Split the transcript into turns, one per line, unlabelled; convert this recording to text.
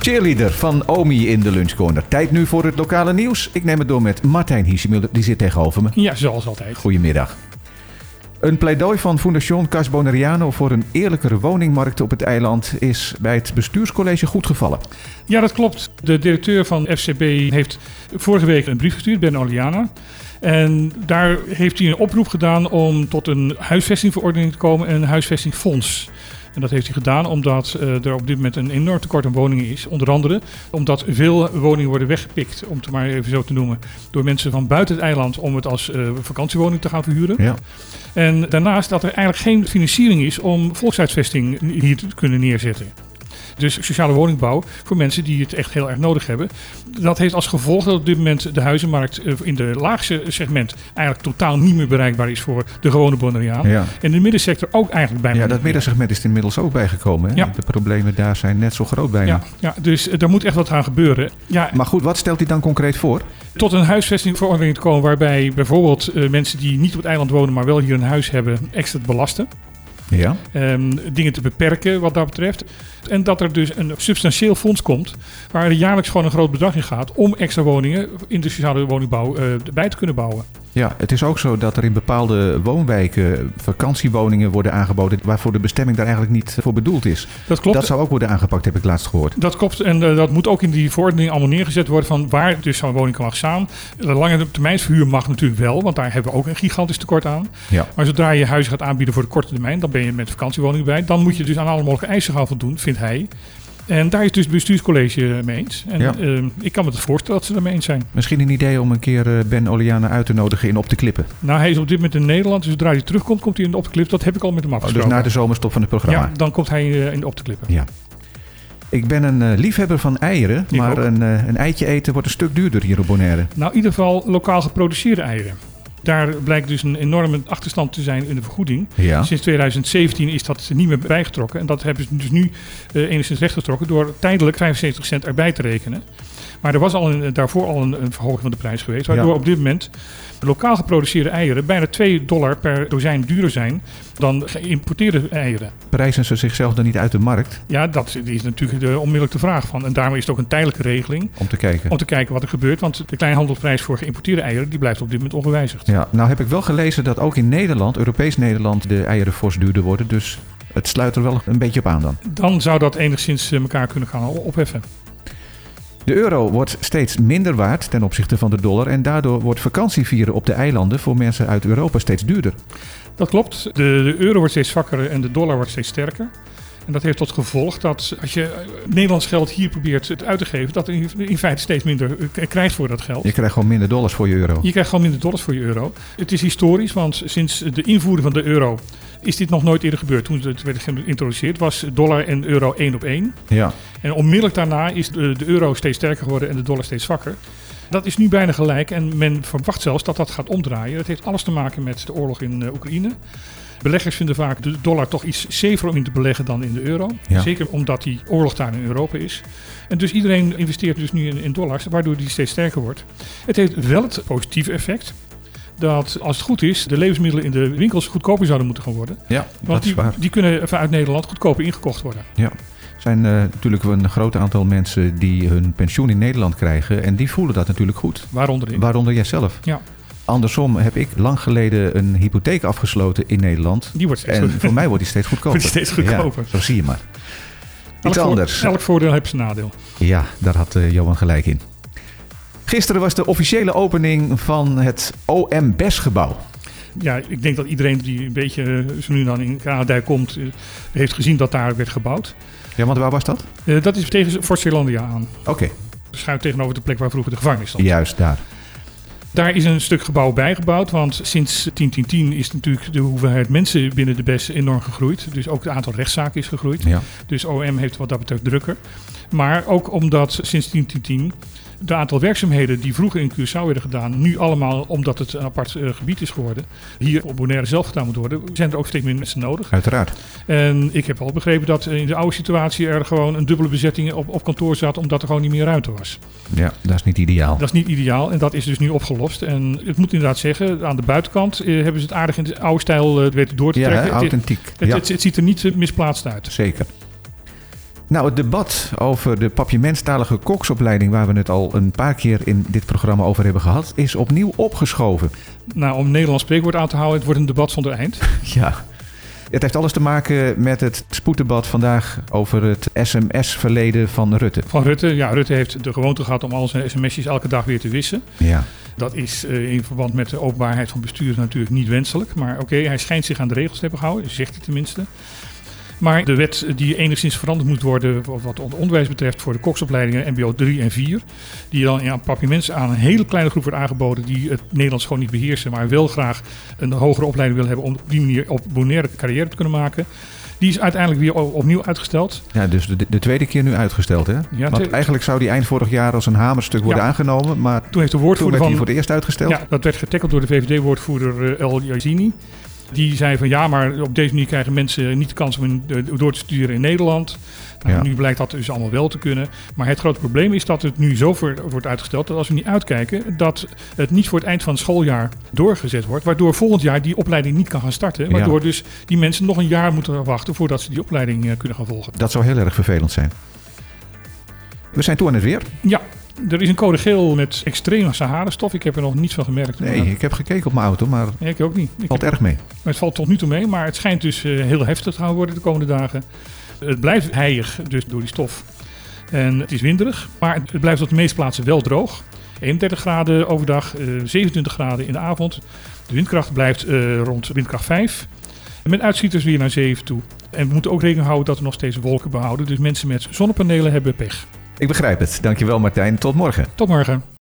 Cheerleader van Omi in de lunchcorner. Tijd nu voor het lokale nieuws. Ik neem het door met Martijn Hiesemulder, die zit tegenover me.
Ja, zoals altijd.
Goedemiddag. Een pleidooi van Fundación Casboneriano voor een eerlijkere woningmarkt op het eiland is bij het bestuurscollege goed gevallen.
Ja, dat klopt. De directeur van FCB heeft vorige week een brief gestuurd, Ben Oliana. En daar heeft hij een oproep gedaan om tot een huisvestingverordening te komen en een huisvestingfonds. En dat heeft hij gedaan omdat eh, er op dit moment een enorm tekort aan woningen is. Onder andere omdat veel woningen worden weggepikt, om het maar even zo te noemen, door mensen van buiten het eiland om het als eh, vakantiewoning te gaan verhuren.
Ja.
En daarnaast dat er eigenlijk geen financiering is om volkshuisvesting hier te kunnen neerzetten. Dus sociale woningbouw voor mensen die het echt heel erg nodig hebben. Dat heeft als gevolg dat op dit moment de huizenmarkt eh, in de laagste segment eigenlijk totaal niet meer bereikbaar is voor de gewone Bonaireaan.
Ja.
En de middensector ook eigenlijk bijna
Ja,
niet
dat
meer.
middensegment is er inmiddels ook bijgekomen. Hè?
Ja.
De problemen daar zijn net zo groot bijna.
Ja, ja, dus eh, daar moet echt wat aan gebeuren. Ja,
Maar goed, wat stelt hij dan concreet voor?
tot een huisvestingverordening te komen waarbij bijvoorbeeld eh, mensen die niet op het eiland wonen, maar wel hier een huis hebben, extra te belasten.
Ja.
Ehm, dingen te beperken wat dat betreft. En dat er dus een substantieel fonds komt waar er jaarlijks gewoon een groot bedrag in gaat om extra woningen in de sociale woningbouw eh, bij te kunnen bouwen.
Ja, het is ook zo dat er in bepaalde woonwijken vakantiewoningen worden aangeboden waarvoor de bestemming daar eigenlijk niet voor bedoeld is.
Dat klopt.
Dat zou ook worden aangepakt, heb ik laatst gehoord.
Dat klopt en eh, dat moet ook in die verordening allemaal neergezet worden van waar dus zo'n woning mag staan. De lange termijnsverhuur mag natuurlijk wel, want daar hebben we ook een gigantisch tekort aan.
Ja.
Maar zodra je huizen gaat aanbieden voor de korte termijn, dan ben je met vakantiewoning bij. Dan moet je dus aan alle mogelijke eisen gaan voldoen, vindt hij. En daar is dus het bestuurscollege mee eens. En
Ja.
eh, ik kan me het voorstellen dat ze daarmee eens zijn.
Misschien een idee om een keer eh, Ben Oliana uit te nodigen in op de klippen.
Nou, hij is op dit moment in Nederland. Dus zodra hij terugkomt, komt hij in de opteclip. Dat heb ik al met hem
dus
afgesproken.
na de zomerstop van het programma.
ja, dan komt hij eh, in de opteclip.
Ja. Ik ben een eh, liefhebber van eieren,
Ik
maar
ook.
een, eh, een eitje eten wordt een stuk duurder hier op Bonaire.
Nou, in ieder geval lokaal geproduceerde eieren. Daar blijkt dus een enorme achterstand te zijn in de vergoeding.
Ja.
Sinds 2017 is dat niet meer bijgetrokken. En dat hebben ze dus nu eh, enigszins rechtgetrokken door tijdelijk 75 cent erbij te rekenen. Maar er was al een, daarvoor al een, een verhoging van de prijs geweest. Waardoor
Ja.
op dit moment lokaal geproduceerde eieren bijna 2 dollar per dozijn duurder zijn dan geïmporteerde eieren.
Prijzen ze zichzelf dan niet uit de markt
Ja, dat is natuurlijk de onmiddellijke vraag van. En daarmee is het ook een tijdelijke regeling
om te kijken?
om te kijken wat er gebeurt. Want de kleinhandelprijs voor geïmporteerde eieren die blijft op dit moment ongewijzigd.
Ja, nou heb ik wel gelezen dat ook in Nederland, Europees Nederland, de eieren fors duurder worden. Dus het sluit er wel een beetje op aan dan.
Dan zou dat enigszins eh, elkaar kunnen gaan opheffen.
De euro wordt steeds minder waard ten opzichte van de dollar. En daardoor wordt vakantievieren op de eilanden voor mensen uit Europa steeds duurder.
Dat klopt. De, de euro wordt steeds zwakker en de dollar wordt steeds sterker. En dat heeft tot gevolg dat als je eh, Nederlands geld hier probeert het uit te geven, dat in, in feite steeds minder eh, k- krijgt voor dat geld.
Je krijgt gewoon minder dollars voor je euro.
Je krijgt gewoon minder dollars voor je euro. Het is historisch, want sinds de invoering van de euro is dit nog nooit eerder gebeurd. Toen het werd geïntroduceerd was dollar en euro één op één.
Ja,
En onmiddellijk daarna is de, de euro steeds sterker geworden en de dollar steeds zwakker. Dat is nu bijna gelijk en men verwacht zelfs dat dat gaat omdraaien. Dat heeft alles te maken met de oorlog in eh, Oekraïne. Beleggers vinden vaak de dollar toch iets safer om in te beleggen dan in de euro.
Ja.
Zeker omdat die oorlog daar in Europa is. En dus iedereen investeert dus nu in, in dollars, waardoor die steeds sterker wordt. Het heeft wel het positieve effect dat als het goed is, de levensmiddelen in de winkels goedkoper zouden moeten gaan worden.
ja
Want
dat is
die,
waar.
die kunnen vanuit Nederland goedkoper ingekocht worden.
Er zijn eh, natuurlijk een groot aantal mensen die hun pensioen in Nederland krijgen. En die voelen dat natuurlijk goed.
Waaronder in.
Waaronder jij zelf.
Ja.
Andersom heb ik lang geleden een hypotheek afgesloten in Nederland.
Die wordt steeds
En voor mij wordt die steeds goedkoper.
Wordt die steeds goedkoper. Nou,
Ja, zo zie je maar.
Elk
Iets
voor-
anders.
elk voordeel heeft zijn nadeel.
Ja, daar had eh, Johan gelijk in. Gisteren was de officiële opening van het E OM-BES-gebouw.
Ja, ik denk dat iedereen die een beetje eh, zo nu en dan in Canada komt, eh, heeft gezien dat daar werd gebouwd.
Ja, want waar was dat?
Eh, dat is tegen Fort Zeelandia aan.
Oké,
Schuin tegenover de plek waar vroeger de gevangenis stond.
juist daar.
Daar is een stuk gebouw bijgebouwd, want sinds 1010 is natuurlijk de hoeveelheid mensen binnen de BES enorm gegroeid. Dus ook het aantal rechtszaken is gegroeid.
Ja.
Dus OM heeft wat dat betreft drukker. Maar ook omdat sinds 1010 de aantal werkzaamheden die vroeger in Curaçao werden gedaan, nu allemaal omdat het een apart eh, gebied is geworden, hier op Bonaire zelf gedaan moet worden, zijn er ook steeds meer mensen nodig.
Uiteraard.
En ik heb al begrepen dat in de oude situatie er gewoon een dubbele bezetting op, op kantoor zat, omdat er gewoon niet meer ruimte was.
Ja, dat is niet ideaal.
Dat is niet ideaal en dat is dus nu opgelost. En ik moet inderdaad zeggen, aan de buitenkant eh, hebben ze het aardig in de oude stijl eh, weten door te
ja, hè,
trekken. Het-
authentiek.
het,
ja,
het, het ziet er niet eh, misplaatst uit.
zeker. Nou, het debat over de papiamenstalige koksopleiding, waar we het al een paar keer in dit programma over hebben gehad, is opnieuw opgeschoven.
Nou, om een Nederlands spreekwoord aan te houden, het wordt een debat zonder eind.
Ja. Het heeft alles te maken met het spoeddebat vandaag over het sms-verleden van Rutte.
Van Rutte, ja, Rutte heeft de gewoonte gehad om al zijn sms'jes elke dag weer te wissen.
Ja.
Dat is eh, in verband met de openbaarheid van bestuur natuurlijk niet wenselijk. Maar oké, hij schijnt zich aan de regels te hebben gehouden, zegt hij tenminste. Maar de wet die enigszins veranderd moet worden wat het onderwijs betreft voor de koksopleidingen MBO 3 en 4. Die dan in papiermensen aan een hele kleine groep wordt aangeboden die het Nederlands gewoon niet beheersen. Maar wel graag een hogere opleiding willen hebben om op die manier op bonaire carrière te kunnen maken. Die is uiteindelijk weer o- opnieuw uitgesteld.
ja, dus de, de tweede keer nu uitgesteld, hè?
Ja,
Want
te-
eigenlijk zou die eind vorig jaar als een hamerstuk worden
Ja.
aangenomen, maar
Toen heeft de
toen
woordvoerder
werd die
van
voor het eerst uitgesteld.
Ja, dat werd getackeld door de VVD-woordvoerder eh, El Yazini. Die zei van ja, maar op deze manier krijgen mensen niet de kans om in- eh, door te studeren in Nederland. Nou,
Ja.
Nu blijkt dat dus allemaal wel te kunnen. Maar het grote probleem is dat het nu zo ver wordt uitgesteld dat als we niet uitkijken, dat het niet voor het eind van het schooljaar doorgezet wordt. Waardoor volgend jaar die opleiding niet kan gaan starten.
Ja.
Waardoor dus die mensen nog een jaar moeten wachten voordat ze die opleiding eh, kunnen gaan volgen.
Dat zou heel erg vervelend zijn. We zijn toe aan het weer.
Ja, er is een code geel met extreme Sahara-stof. Ik heb er nog niets van gemerkt.
Nee,
maar-
ik heb gekeken op mijn auto, maar
Nee, ik ook niet. Ik
valt erg mee.
Maar het valt tot nu toe mee, maar het schijnt dus eh, heel heftig te gaan worden de komende dagen. Het blijft heilig dus door die stof. En het is winderig, maar het blijft op de meeste plaatsen wel droog. 31 graden overdag, eh, 27 graden in de avond. De windkracht blijft eh, rond windkracht 5. Met uitschieters weer naar 7 toe. En we moeten ook rekening houden dat we nog steeds wolken behouden. Dus mensen met zonnepanelen hebben pech.
Ik begrijp het. Dankjewel Martijn. Tot morgen.
Tot morgen.